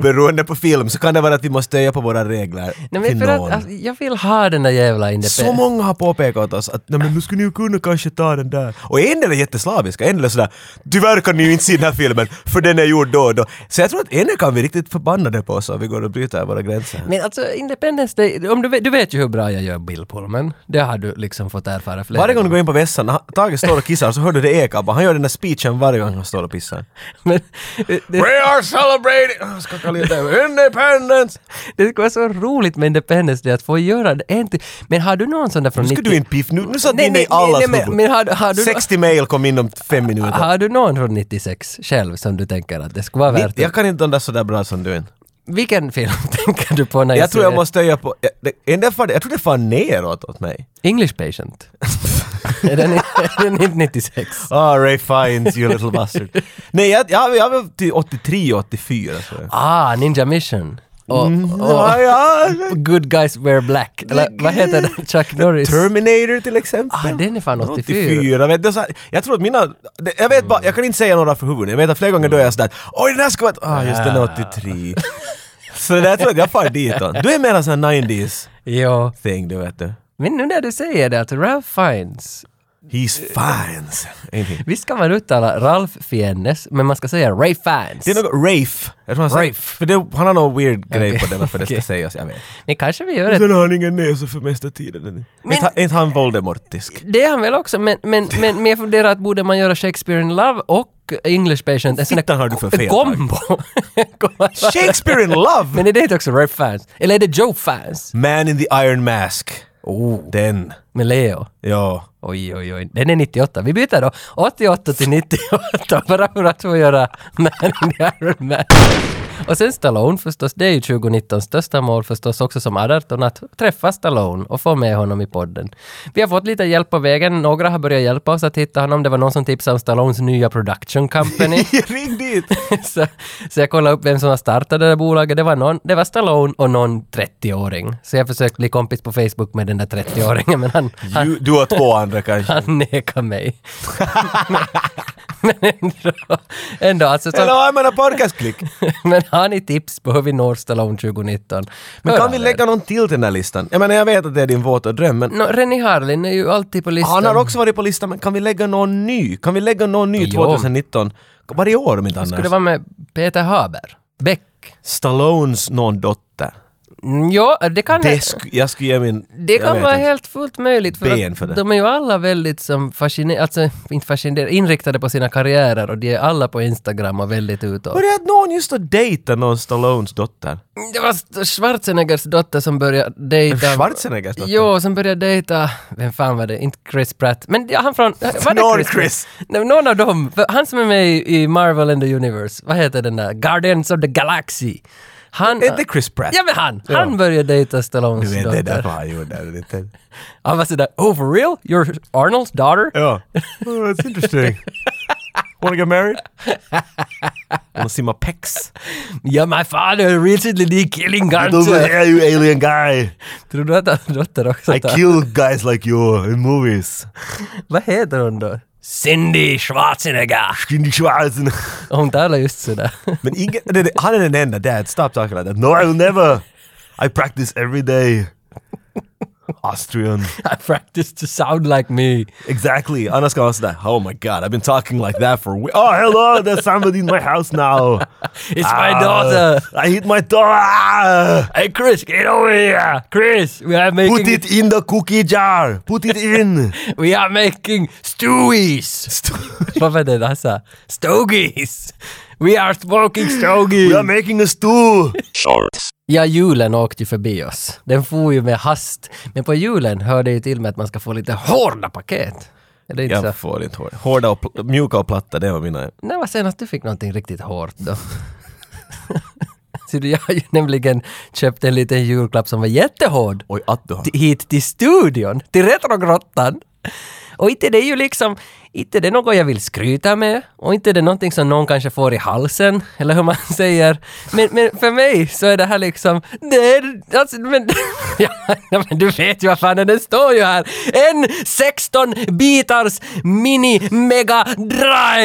S3: Beroende på film så kan det vara att vi måste stöja på våra regler
S2: Mm. Nej,
S3: till
S2: men för
S3: någon.
S2: att, alltså, jag vill ha den där jävla
S3: så
S2: independent.
S3: många har påpekat oss att Nej, men nu skulle ni ju kunna kanske ta den där. Och en del är jätteslaviska, en del är sådär tyvärr kan ni ju inte se den här filmen för den är gjord då och då. Så jag tror att en del kan vi riktigt förbanna det på oss om vi går och bryter våra gränser.
S2: Men alltså Independence Day, om du, vet- du vet ju hur bra jag gör Bill Pullman. Det har du liksom fått erfara flera
S3: Varje gång du går in på vässan, när han- Tage står och kissar så hör du det eka bara. Han gör den där speechen varje gång han står och pissar.
S2: Men eh, det,
S3: We are celebrating... Ah, Skaka lite. Independence!
S2: det skulle vara så roligt med Independence Day att få göra det en till. Men har du någon sån där från
S3: Nu ska
S2: 90...
S3: du inte piff... Nu, nu satt
S2: Nej,
S3: ni inne i
S2: nej,
S3: allas
S2: nej, men,
S3: huvud.
S2: men har, du- har, du,
S3: 60 mail kom inom fem minuter.
S2: har du någon från 96 själv som du tänker att det skulle vara värt?
S3: Jag kan inte de där sådär bra som du är.
S2: Vilken film tänker du på när jag,
S3: Jag tror jag
S2: säger
S3: måste höja på... jag- det- en del far- Jag tror det far neråt åt mig.
S2: English Patient? är, den, är den inte 96?
S3: Ah, Ray Fiennes, you little bastard. Nej, jag, jag, jag var till 83, 84 tror jag.
S2: Ah, Ninja Mission. Och, och
S3: Mm. Ja, Ah, ja.
S2: Good Guys Wear Black. Eller vad heter den? Chuck Norris?
S3: Terminator till exempel.
S2: Ah, den är fan 84.
S3: 84. Vet du, så här, jag tror att mina... det- Jag vet bara, jag kan inte säga några för huvudet. Jag vet att flera gånger då är jag sådär Oj, den här ska vara... Ah, just den är 83. så det där tror jag att jag far ditåt. Du är mera sån här 90s
S2: Ja.
S3: thing, du vet du.
S2: Men nu när du säger det att Ralph Fiennes
S3: He's fans. Ingenting.
S2: Visst ska man uttala Ralf Fiennes, men man ska säga Ray Fiennes.
S3: Det är något Rafe. Jag tror han sa-
S2: Rafe.
S3: För det, han har någon weird grej på det varför det
S2: Okej.
S3: ska sägas, jag vet.
S2: Men kanske vi gör ett...
S3: Sen har han ingen näsa för mesta tiden.
S2: Men-
S3: Inte, inte han Voldemortisk.
S2: Det är han väl också, men, men, men, men jag funderar att borde man göra Shakespeare in Love och English Patient en sån
S3: Fittan har du för fel,
S2: kombo?
S3: Shakespeare in Love!
S2: men är det inte också Ray Fiennes? Eller är det Joe Fiennes?
S3: Man in the Iron Mask.
S2: Oh.
S3: Den.
S2: Med Leo.
S3: Ja.
S2: Oj, oj, oj. Den är 98. Vi byter då 88 till 98 bara för att få göra Man in the Iron Man. Och sen Stallone förstås, det är ju 2019 största mål förstås också som Adarton att träffa Stallone och få med honom i podden. Vi har fått lite hjälp på vägen, några har börjat hjälpa oss att hitta honom. Det var någon som tipsade om Stallones nya production company.
S3: Ring dit!
S2: så, så jag kollade upp vem som har startat det där bolaget. Det var, någon, det var Stallone och någon 30-åring. Så jag försökte bli kompis på Facebook med den där 30-åringen men han, han
S3: Du, du och två andra kanske.
S2: han nekar mig. men ändå, ändå alltså,
S3: Hello,
S2: så,
S3: I'm on a podcast click.
S2: men har ni tips på hur vi når Stallone 2019?
S3: Men
S2: Hör
S3: kan
S2: av
S3: vi
S2: er.
S3: lägga någon till till den här listan? Jag menar, jag vet att det är din våta dröm, men
S2: Nå, Rennie Harlin är ju alltid på listan.
S3: han har också varit på listan, men kan vi lägga någon ny? Kan vi lägga någon ny
S2: Jo.
S3: 2019? Varje år om inte annars.
S2: Skulle det vara med Peter Haber? Beck?
S3: Stallones någon dotter.
S2: Mm, Ja, det kan,
S3: Det sku, jag skulle ge min...
S2: det
S3: jag
S2: kan
S3: vet
S2: vara
S3: inte.
S2: helt fullt möjligt. För
S3: Ben
S2: att
S3: för det.
S2: De är ju alla väldigt som fascinerade, alltså inte fascinerade, inriktade på sina karriärer och de är alla på Instagram och väldigt utåt.
S3: Var det att någon just att dejta någon Stallones dotter?
S2: Det var Schwarzeneggers dotter som började dejta...
S3: Schwarzeneggers dotter?
S2: Jo, som började dejta... Vem fan var det? Inte Chris Pratt. Men det- han från... Var det
S3: Någon
S2: Chris?
S3: Chris.
S2: Nej, någon av dem. För Han som är med i i Marvel and the Universe. Vad heter den där? Guardians of the Galaxy. Han...
S3: Är inte Chris Pratt?
S2: Ja men han!
S3: Ja.
S2: Han började dejta Stallones
S3: Du vet, det är därför
S2: dotter.
S3: han gjorde det. det. är-
S2: Han var sådär “Oh for real? You're Arnold's daughter?”
S3: Ja. Oh, that's interesting. Wanna get married? Wanna see my pecs?
S2: “Yeah my father recently did killing guns”.
S3: you alien guy!
S2: Tror du att hans dotter också tar-
S3: kill guys like you in movies.
S2: Vad heter hon då? Cindy Schwarzenegger! Hon talar just sådär.
S3: Men ingen, det- det- han är den enda dad, stop talking like that. No, I will never! I practice every day. Austrian.
S2: I practice to sound like me.
S3: Exactly. Annars ska han vara sådär, oh my god, I've been talking like that for we- Oh hello, there's somebody in my house now.
S2: It's
S3: Ah.
S2: my daughter.
S3: I hit my daughter! Ah,
S2: Hey Chris, get over here! Chris, we are
S3: Put
S2: making
S3: it in the cookie jar! Put it in!
S2: we are making stewies. Vad var det han sa? Stogies. We are smoking stogies.
S3: We are making a stew!
S2: Ja, julen åkte ju förbi oss. Den for ju med hast. Men på julen hör det ju till med att man ska få lite hårda paket. Är det inte så?
S3: Jag får inte hår. Hårda och pl- mjuka och platta, det var mina...
S2: När var senast du fick någonting riktigt hårt då? Så du, jag har ju nämligen köpt en liten julklapp som var jättehård.
S3: Oj, att du har.
S2: t- hit till studion, till Retrogrottan. Och inte det är ju liksom, inte det är något jag vill skryta med och inte det är någonting som någon kanske får i halsen, eller hur man säger. Men, men för mig så är det här liksom, det är, alltså, men, ja, men du vet ju vad fan det är, det står ju här. En 16 bitars mini mega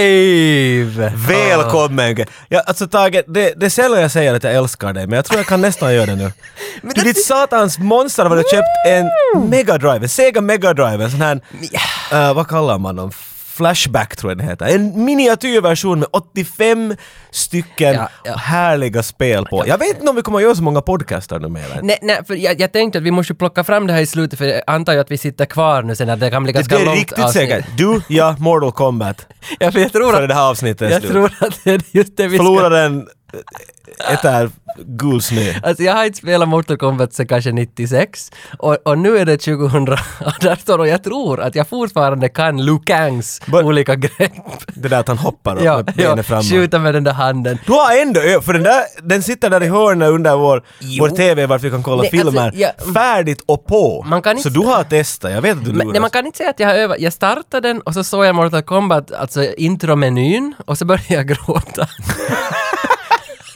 S2: drive!
S3: Välkommen! Ja, alltså Tage, det, det är sällan jag säger att jag älskar dig, men jag tror jag kan nästan göra det nu. Du ditt satans monster har du köpt en Mega Drive, en Sega Mega Drive, en sån här... eh, vad kallar man dem? Flashback tror jag det heter. En miniatyrversion med 85 stycken
S2: Ja, ja.
S3: härliga spel på. Jag vet inte om vi kommer att göra så många podcaster numera.
S2: Nej, nej, för jag, jag tänkte att vi måste plocka fram det här i slutet för jag antar ju att vi sitter kvar nu sen att det kan bli ganska
S3: Det är
S2: långt
S3: riktigt säkert. Du, jag, Mortal Kombat.
S2: Ja, för jag tror
S3: För
S2: att
S3: det här avsnittet är
S2: Jag
S3: slut.
S2: tror att det är just det vi ska...
S3: Förloraren eh, äter gul snö.
S2: Alltså jag har inte spelat Mortal Kombat sedan kanske 96 och, och nu är det 2018 och jag tror att jag fortfarande kan Liu Kangs
S3: But-
S2: olika grepp.
S3: Det där att han hoppar upp
S2: Ja,
S3: med benen
S2: ja,
S3: framåt.
S2: skjuta med den där handen.
S3: Du har ändå ö- för den där, den sitter där i hörnet under vår,
S2: Jo.
S3: vår TV varför vi kan kolla
S2: Nej,
S3: filmer.
S2: alltså, jag-
S3: Färdigt och på.
S2: Man kan inte-
S3: Så du har testat, jag vet att du
S2: Men,
S3: luras.
S2: nej, man kan inte säga att jag har övat. Jag startade den och så såg jag Mortal Kombat, alltså intromenyn, och så började jag gråta.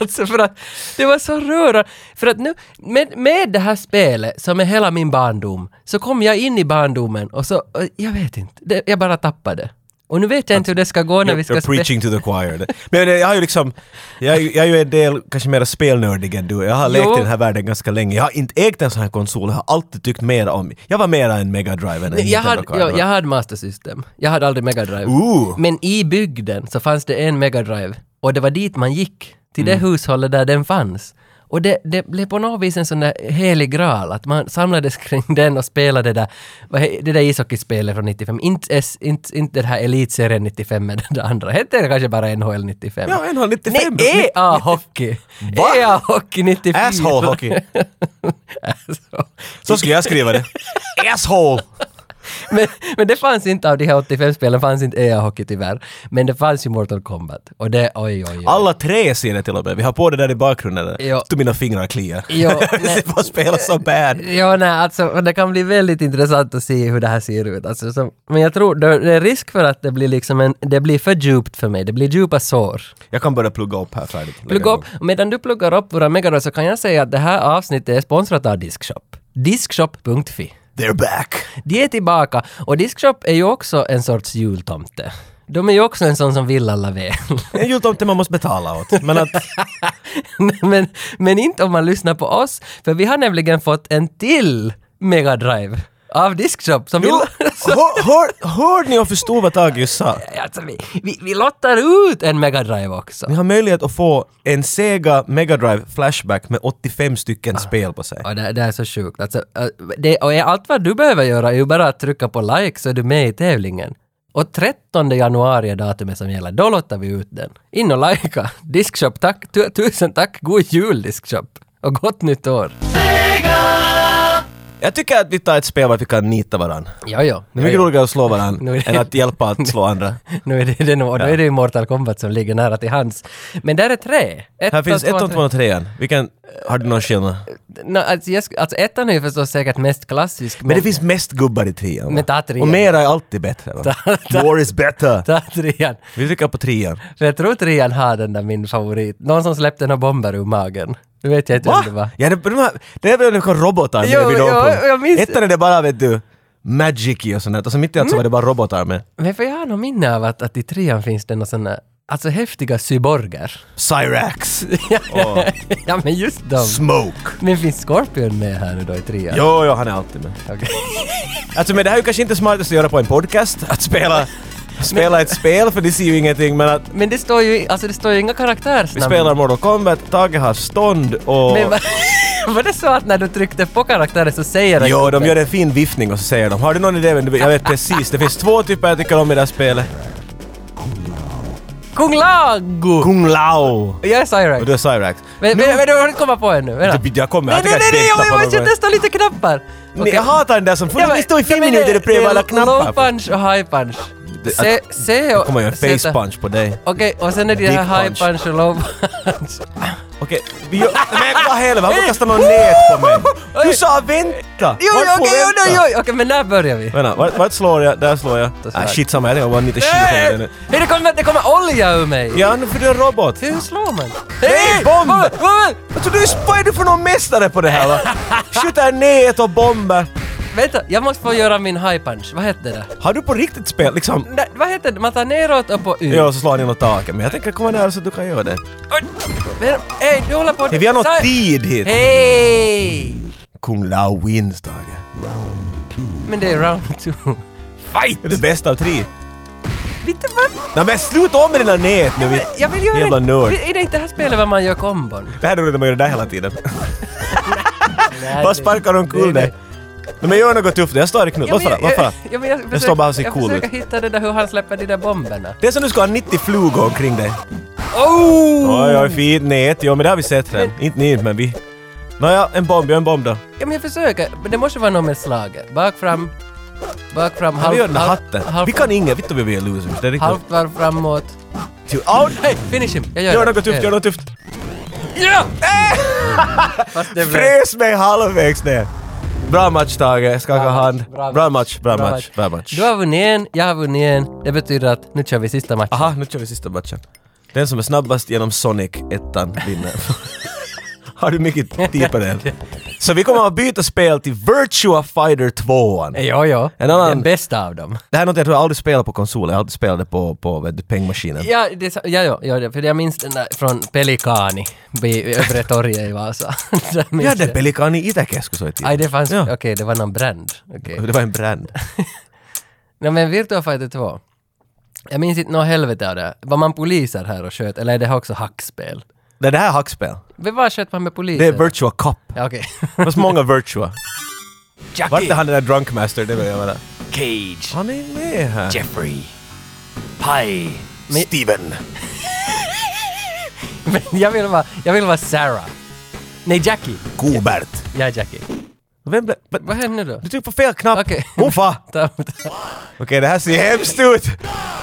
S2: alltså för att det var så rörande. För att nu, med, med det här spelet som är hela min barndom, så kom jag in i barndomen och så, och jag vet inte, det, jag bara tappade. Och nu vet Alltså, jag inte hur det ska gå när vi ska...
S3: You're
S2: spe-
S3: preaching to the choir. Men jag har ju liksom, jag, är ju- jag är ju en del, kanske mer spelnördig än du. Jag har lekt
S2: Jo.
S3: i den här världen ganska länge. Jag har inte ägt en sån här konsol, jag har alltid tyckt mer om... Jag var mera en Mega Drive än en
S2: Nej, jag,
S3: Nintendo
S2: hade,
S3: Card.
S2: jag, jag hade Master System. Jag hade aldrig Mega Drive.
S3: Ooh.
S2: Men i bygden så fanns det en Mega Drive och det var dit man gick, till
S3: Mm.
S2: det hushållet där den fanns. Och det, det blev på något vis en sån där helig graal, att man samlades kring den och spelade det där, vad he- det där ishockeyspelet från 95. Inte, S, inte, inte den här elitserien 95 med det andra. Hette det kanske bara NHL 95?
S3: Ja, NHL 95.
S2: Nej, E EA-hockey!
S3: Va?
S2: E EA-hockey 94!
S3: Asshole hockey.
S2: Asshole.
S3: Så skulle jag skriva det. Asshole!
S2: men, men det fanns inte av de här 85-spelen, fanns inte EA-hockey tyvärr. Men det fanns ju Mortal Kombat. Och det, oj oj oj.
S3: Alla tre ser det till och med. Vi har på det där i bakgrunden. Där.
S2: Ja.
S3: Mina fingrar kliar.
S2: Jo, nej.
S3: det var spela så bad.
S2: Ja, nej, alltså det kan bli väldigt intressant att se hur det här ser ut. Alltså, som, men jag tror det det är risk för att det blir liksom en, det blir för djupt för mig, det blir djupa sår.
S3: Jag kan börja plugga upp här färdigt.
S2: Plugga upp, medan du pluggar upp våra megadollar så kan jag säga att det här avsnittet är sponsrat av Diskshop. Diskshop.fi.
S3: They're back!
S2: De är tillbaka och Diskshop är ju också en sorts jultomte. De är ju också en sån som vill alla väl.
S3: En jultomte man måste betala åt. Men att
S2: men, men inte om man lyssnar på oss, för vi har nämligen fått en till Mega Drive av Diskshop som
S3: Jo,
S2: vill...
S3: hör, hör, hörde ni och förstod vad Tage just sa?
S2: Alltså, vi, vi, vi lottar ut en Mega Drive också.
S3: Ni har möjlighet att få en Sega Mega Drive Flashback med 85 stycken spel på sig.
S2: Ja, det, det är så sjukt. Alltså, äh, det, och är allt vad du behöver göra är ju bara att trycka på like så är du med i tävlingen. Och 13 januari är datumet som gäller. Då lottar vi ut den. In och likea. Diskshop, tack. Tu, tusen tack. God jul, Diskshop. Och gott nytt år.
S3: Jag tycker att vi tar ett spel vart vi kan nita varandra.
S2: Ja, ja.
S3: Det är
S2: ja,
S3: mycket
S2: ja.
S3: roligare att slå
S2: Nu
S3: varandra
S2: är det-
S3: än att hjälpa att slå andra.
S2: Nu är det, det, är nog- och då är det ju Mortal Kombat som ligger nära till hands. Men där är tre. Ett
S3: Här
S2: och
S3: finns
S2: två, tre.
S3: ettan, tvåan och trean. Vilken... Har du någon skillnad?
S2: Nå, alltså, jag, sk- alltså ettan är ju förstås säkert mest klassisk.
S3: Men det finns mest gubbar i trean. va?
S2: Men ta trean.
S3: Och mera är alltid bättre. Va? More is better.
S2: Ta trean.
S3: Vi trycker på trean.
S2: För jag tror trean har den där min favorit. Någon som släppte några bomber ur magen. Nu vet jag inte
S3: Va?
S2: vem det var.
S3: Ja, det, de här, det är väl några robotar med
S2: Jo,
S3: vid
S2: jo,
S3: Open.
S2: jag minns- Mm.
S3: Ettan är det bara, vet du, Magic i och sånt där. Och så mitt i allt så var det bara robotar med.
S2: Men för jag har nog minne av att, att i trean finns det några sådana, alltså häftiga cyborger.
S3: Cyrax!
S2: ja men just dem.
S3: Smoke!
S2: Men finns Scorpion med här nu då i trean?
S3: Jo, jo, han är alltid med.
S2: Okej.
S3: Alltså men det här är ju kanske inte smartast att göra på en podcast, att spela, spela ett spel för det ser ju ingenting men att
S2: Men det står ju, alltså det står ju inga
S3: vi
S2: karaktärsnamn.
S3: spelar Mortal Kombat, Tage har stånd och...
S2: Men va, var det så att när du tryckte på karaktären så säger den-
S3: Jo, de gör en fin viftning och så säger de “Har du någon idé vem du vill?" Jag vet precis, det finns två typer jag tycker om i det här spelet.
S2: Kung Lago!
S3: Kung Lao!
S2: Jag är Cyrax.
S3: Och du är Cyrax.
S2: Men, men, men du har inte kommit på ännu? Vänta.
S3: Det- jag kommer-
S2: Nej,
S3: jag
S2: nej,
S3: tycker
S2: nej,
S3: att
S2: nej,
S3: det
S2: jag
S3: tappar
S2: måste
S3: någon.
S2: testa lite knappar!
S3: Ni, jag hatar den där som...
S2: Ja, men-
S3: Ni står i fem
S2: ja, men det-
S3: minuter och prövar
S2: det är
S3: alla knappar.
S2: Low punch och high punch.
S3: Det-
S2: Se, se och...
S3: kommer jag en
S2: sätta-
S3: face punch på dig.
S2: Okej, och sen är det
S3: Dick
S2: här high
S3: punch.
S2: punch och low punch.
S3: Okej, vi gör... Men vad helvete, varför kastar man nät på mig? Du sa vänta!
S2: Jo, jo,
S3: Varför
S2: okej, jo,
S3: vänta?
S2: jo, jo, okej, men när börjar vi?
S3: Vänta, vart, vart slår jag? Där slår jag.
S2: Där slår
S3: Ah,
S2: jag.
S3: shit samma, jag tänker bara nita
S2: Nej!
S3: shit nu.
S2: Hej, det kommer, det kommer olja ur mig!
S3: Ja, nu för du är en robot.
S2: Hur slår man?
S3: Nej, bomb!
S2: Vad, vad,
S3: Alltså du, är- vad är du för någon mästare på det här va? Skjuter nät och bomber.
S2: vänta, jag måste få göra min high punch. Vad hette det?
S3: Har du på riktigt spel liksom?
S2: Nej, vad hette det? Man tar neråt och på ut.
S3: Ja, så slår han genom taket. Men jag tänker komma nära så att du kan göra det.
S2: Oj! Men, Hej, du håller på...
S3: Hej, vi har nått
S2: Sa-
S3: tid hit.
S2: Hej!
S3: Kung Lao wins, Tage.
S2: Men det är round two.
S3: Fight! Det är det bästa av tre.
S2: Lite vad?
S3: Nej men sluta om med dina nät nu! vi-
S2: Jag vill göra
S3: Jävla
S2: en-
S3: nörd.
S2: Är det inte det här spelet var man gör kombon?
S3: Det här är roligt när man gör det där hela tiden. Bara sparkar omkull dig. Nej, Men gör något tufft, jag står i knut. Låt fara, låt fara.
S2: Ja, men jag, försöker,
S3: står bara och ser
S2: jag
S3: cool
S2: försöker hitta det där hur han släpper de där bomberna.
S3: Det är som du ska ha 90 flugor omkring dig.
S2: Oh!
S3: Oj, oj, fint nät. Jo, men det har vi sett redan. Inte ni, men vi. Nåja, en bomb, gör en bomb då.
S2: Ja, men jag försöker. Men det måste vara något med slaget. Bak, fram, bak, fram,
S3: Halv,
S2: halv,
S3: vi gör den här
S2: halv-
S3: hatten.
S2: halv-
S3: vi kan inget, vet du vi är losers. Det är riktigt...
S2: Halvt varv framåt.
S3: Till out!
S2: Hej, finish him! Jag gör,
S3: Gör
S2: det.
S3: något tufft, gör något tufft.
S2: Ja! Fast det blev...
S3: Fräs mig halvvägs ner. Bra match Tage, skaka
S2: Bra match,
S3: hand.
S2: bra
S3: Bra
S2: match,
S3: match, bra match, bra match.
S2: Du har vunnit en, jag har vunnit en. Det betyder att nu kör vi sista matchen.
S3: Aha, nu kör vi sista matchen. Den som är snabbast genom Sonic ettan vinner. Har du mycket tid på det? Så vi kommer att byta spel till Virtua Fighter 2.
S2: Jo, jo.
S3: En annan-
S2: Den bästa av dem.
S3: Det här är något jag tror jag aldrig spelade på konsol, jag alltid spelade på, på vet du, pengmaskinen.
S2: Ja, det, är så- ja, ja, ja, det- för jag minns den där från Pelikani vid Övre torget i Vasa. Där minns
S3: Vi hade
S2: jag.
S3: Pelikani Itäkeskus var i tiden.
S2: Aj, det fanns...
S3: Ja.
S2: Okej, det var någon brand. Okej.
S3: Det var en brand.
S2: Nej men Virtua Fighter 2. Jag minns inte något helvete av det. Var man poliser här och sköt, eller är det här också hackspel?
S3: Det det här är hackspel.
S2: Men Vad sköt man med poliser?
S3: Det är Virtua Cup.
S2: Ja, okej.
S3: Det var så många Virtua. Vart är
S2: Jackie,
S3: han den där Drunkmaster? Det vill jag vara.
S1: Cage,
S3: Han är med här.
S1: Jeffrey, Pie,
S2: Men-
S1: Steven.
S2: men jag vill vara, jag vill vara Sarah. Nej, Jackie.
S1: Gobert.
S2: Jag är Jackie.
S3: Vem blev... va-
S2: Vad händer då?
S3: Du tryckte på fel knapp.
S2: Okej.
S3: Muffa!
S2: Ta- ta-
S3: Okej, det här ser hemskt ut.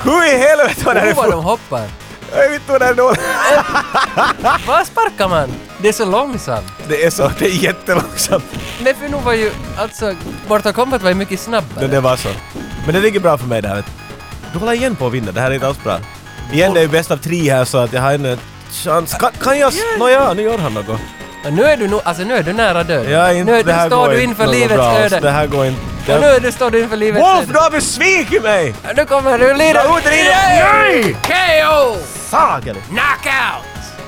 S3: Hur i helvete var det
S2: Oh,
S3: här?
S2: vad de
S3: för-
S2: hoppar.
S3: Jag vet inte vad det här är dåligt.
S2: Vad sparkar man? Det är så långsamt.
S3: Det är så, det är jättelångsamt.
S2: Men för nu var ju, alltså, Mortal Kombat var ju mycket
S3: Men
S2: snabbare.
S3: det var så. Men det ligger bra för mig det här. vet du. Du håller igen på att vinna, det här är inte alls bra. Igen, det är ju bäst av tre här så att jag har ännu en chans. Kan, kan jag... s- Nåja, nu gör han något.
S2: Och nu är du nog, alltså nu är du nära döden.
S3: Jag är inte...
S2: nu är,
S3: det
S2: du
S3: här
S2: står
S3: går
S2: du
S3: inte
S2: inför
S3: något
S2: livets
S3: bra alls.
S2: öde.
S3: Det här går inte...
S2: Och nu är du, står du inför livets
S3: Wolf, du
S2: öde.
S3: har besvikit mig!
S2: Nu kommer du,
S3: Dra ut den in- Nej!
S2: KO!
S3: Sagan!
S2: Knockout!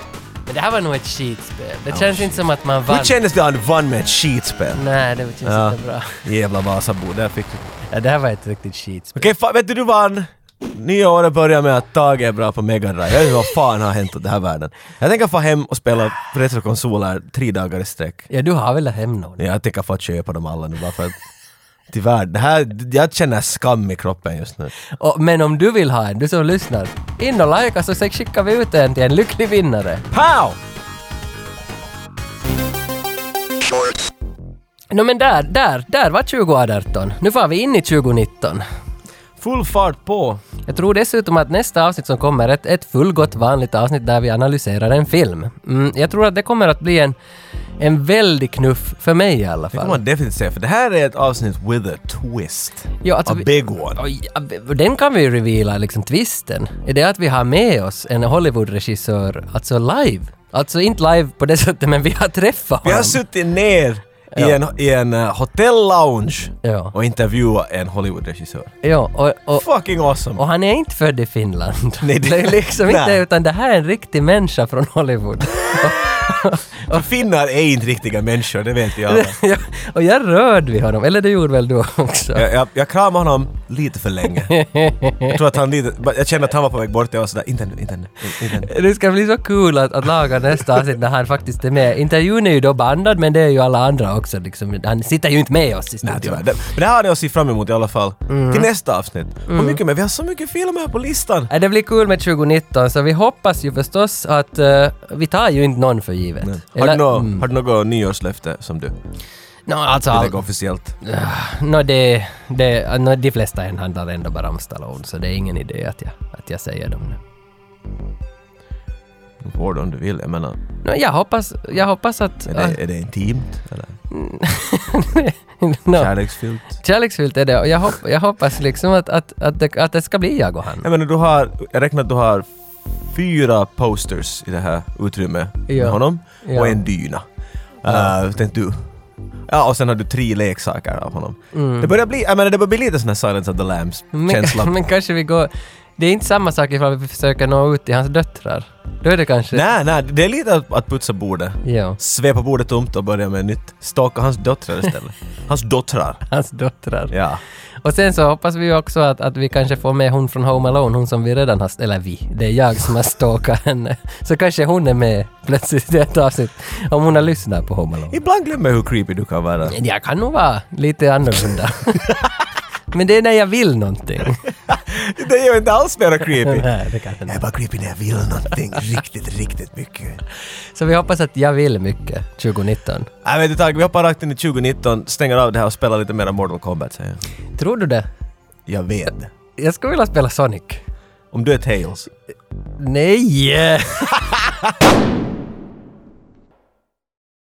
S2: Men det här var nog ett skitspel. Det känns inte som att man vann.
S3: Hur kändes det att han vann med ett skitspel?
S2: Nej, det känns
S3: Ja.
S2: inte bra.
S3: Jävla Vasabo, där fick du.
S2: Ja, det här var ett riktigt skitspel.
S3: Okej, fa- vet du, du vann! Nya året börjar med att Tage är bra på Mega Drive. Jag vet inte vad fan har hänt åt den här världen. Jag tänker få hem och spela retrokonsoler tre dagar i sträck.
S2: Ja, du har väl hem någon?
S3: Jag tänker få köpa dem alla nu bara för att... Tyvärr, det här, jag känner skam i kroppen just nu.
S2: Och, men om du vill ha en, du som lyssnar, in och likea så sen skickar vi ut en till en lycklig vinnare.
S3: Pow!
S2: Nå men där, där, där var 2018. Nu får vi in i 2019.
S3: Full fart på!
S2: Jag tror dessutom att nästa avsnitt som kommer är ett, ett fullgott vanligt avsnitt där vi analyserar en film. Mm, jag tror att det kommer att bli en, en väldig knuff för mig i alla
S3: Det kommer
S2: fall.
S3: man definitivt säga, för det här är ett avsnitt with a twist.
S2: Ja, alltså
S3: a
S2: vi-
S3: big one.
S2: Oj, ja, b- Den kan vi ju reveala, liksom twisten. Är det att vi har med oss en Hollywood-regissör, alltså live? Alltså inte live på det sättet, men vi har träffat
S3: Vi
S2: honom.
S3: har suttit ner i en, i en eh, hotellounge
S2: Ja.
S3: och intervjuat en Hollywoodregissör.
S2: Ja, och, och,
S3: Fucking awesome!
S2: och han är inte född i Finland.
S3: Nej, det-
S2: det är liksom inte,
S3: nej.
S2: utan det här är en riktig människa från Hollywood.
S3: För finnar är inte riktiga människor, det vet jag. alla.
S2: Ja, och jag rörd vid honom, eller det gjorde väl du också?
S3: Jag, jag, jag kramade honom lite för länge. Jag tror att han lite... Jag kände att han var på väg bort. Jag var sådär, inte nu, inte nu, inte nu.
S2: Det ska bli så kul att, att laga nästa avsnitt när han faktiskt är med. Intervjun är ju då bandad, men det är ju alla andra också. Liksom. Han sitter ju inte med oss i
S3: Nej, tyvärr.
S2: studion.
S3: Det- Men det här har ni att se fram emot i alla fall.
S2: Mm.
S3: Till nästa avsnitt. Och mycket mer. Vi har så mycket filmer på listan.
S2: Nej, det blir kul med 2019, så vi hoppas ju förstås att eh, vi tar ju inte någon för givet.
S3: Har du, nå,
S2: mm,
S3: har du något nyårslöfte som du
S2: nå, alltså, all,
S3: lägger officiellt?
S2: nå, det, det, nå, de flesta än handlar ändå bara om Stallone, så det är ingen idé att jag, att jag säger dem nu.
S3: Du får det om du vill. Jag menar,
S2: Nå, jag, hoppas, jag hoppas att...
S3: är det, är det intimt? Eller
S2: nå,
S3: kärleksfyllt?
S2: Kärleksfyllt är det och jag, hopp, jag hoppas liksom att, att, att, det, att det ska bli jag och han.
S3: Jag menar, du har... Jag räknar att du har fyra posters i det här utrymmet
S2: Ja.
S3: med honom.
S2: Ja.
S3: Och en dyna. Ja. tänkte du. Ja, och sen har du tre leksaker av honom. Det börjar bli, jag menar, det börjar bli lite sån här Silence of the Lambs-känsla.
S2: Mm. Men, men kanske vi går... Det är inte samma sak ifall vi försöker nå ut till hans döttrar. Då är det kanske...
S3: Nej, nej, det är lite att, att putsa bordet.
S2: Ja,
S3: Svepa bordet tomt och börja med nytt. Staka hans döttrar istället. Hans döttrar.
S2: hans döttrar.
S3: Ja.
S2: Och sen så hoppas vi ju också att, att vi kanske får med hon från Home Alone, hon som vi redan har... Eller vi, det är jag som har stalkat henne. Så kanske hon är med plötsligt i ett avsnitt, om hon har lyssnat på Home Alone.
S3: Ibland glömmer jag hur creepy du kan vara.
S2: Men Jag kan nog vara lite annorlunda. men det är när jag vill någonting.
S3: Det är ju inte alls mera creepy.
S2: Nej, det kanske inte.
S3: Jag är bara creepy när jag vill någonting riktigt, riktigt mycket.
S2: Så vi hoppas att jag vill mycket 2019.
S3: Nej men du Tage, vi hoppar rakt in i 2019, stänger av det här och spelar lite mer Mortal Kombat säger jag.
S2: Tror du det?
S3: Jag vet.
S2: Jag skulle vilja spela Sonic.
S3: Om du är Tails.
S2: Nej!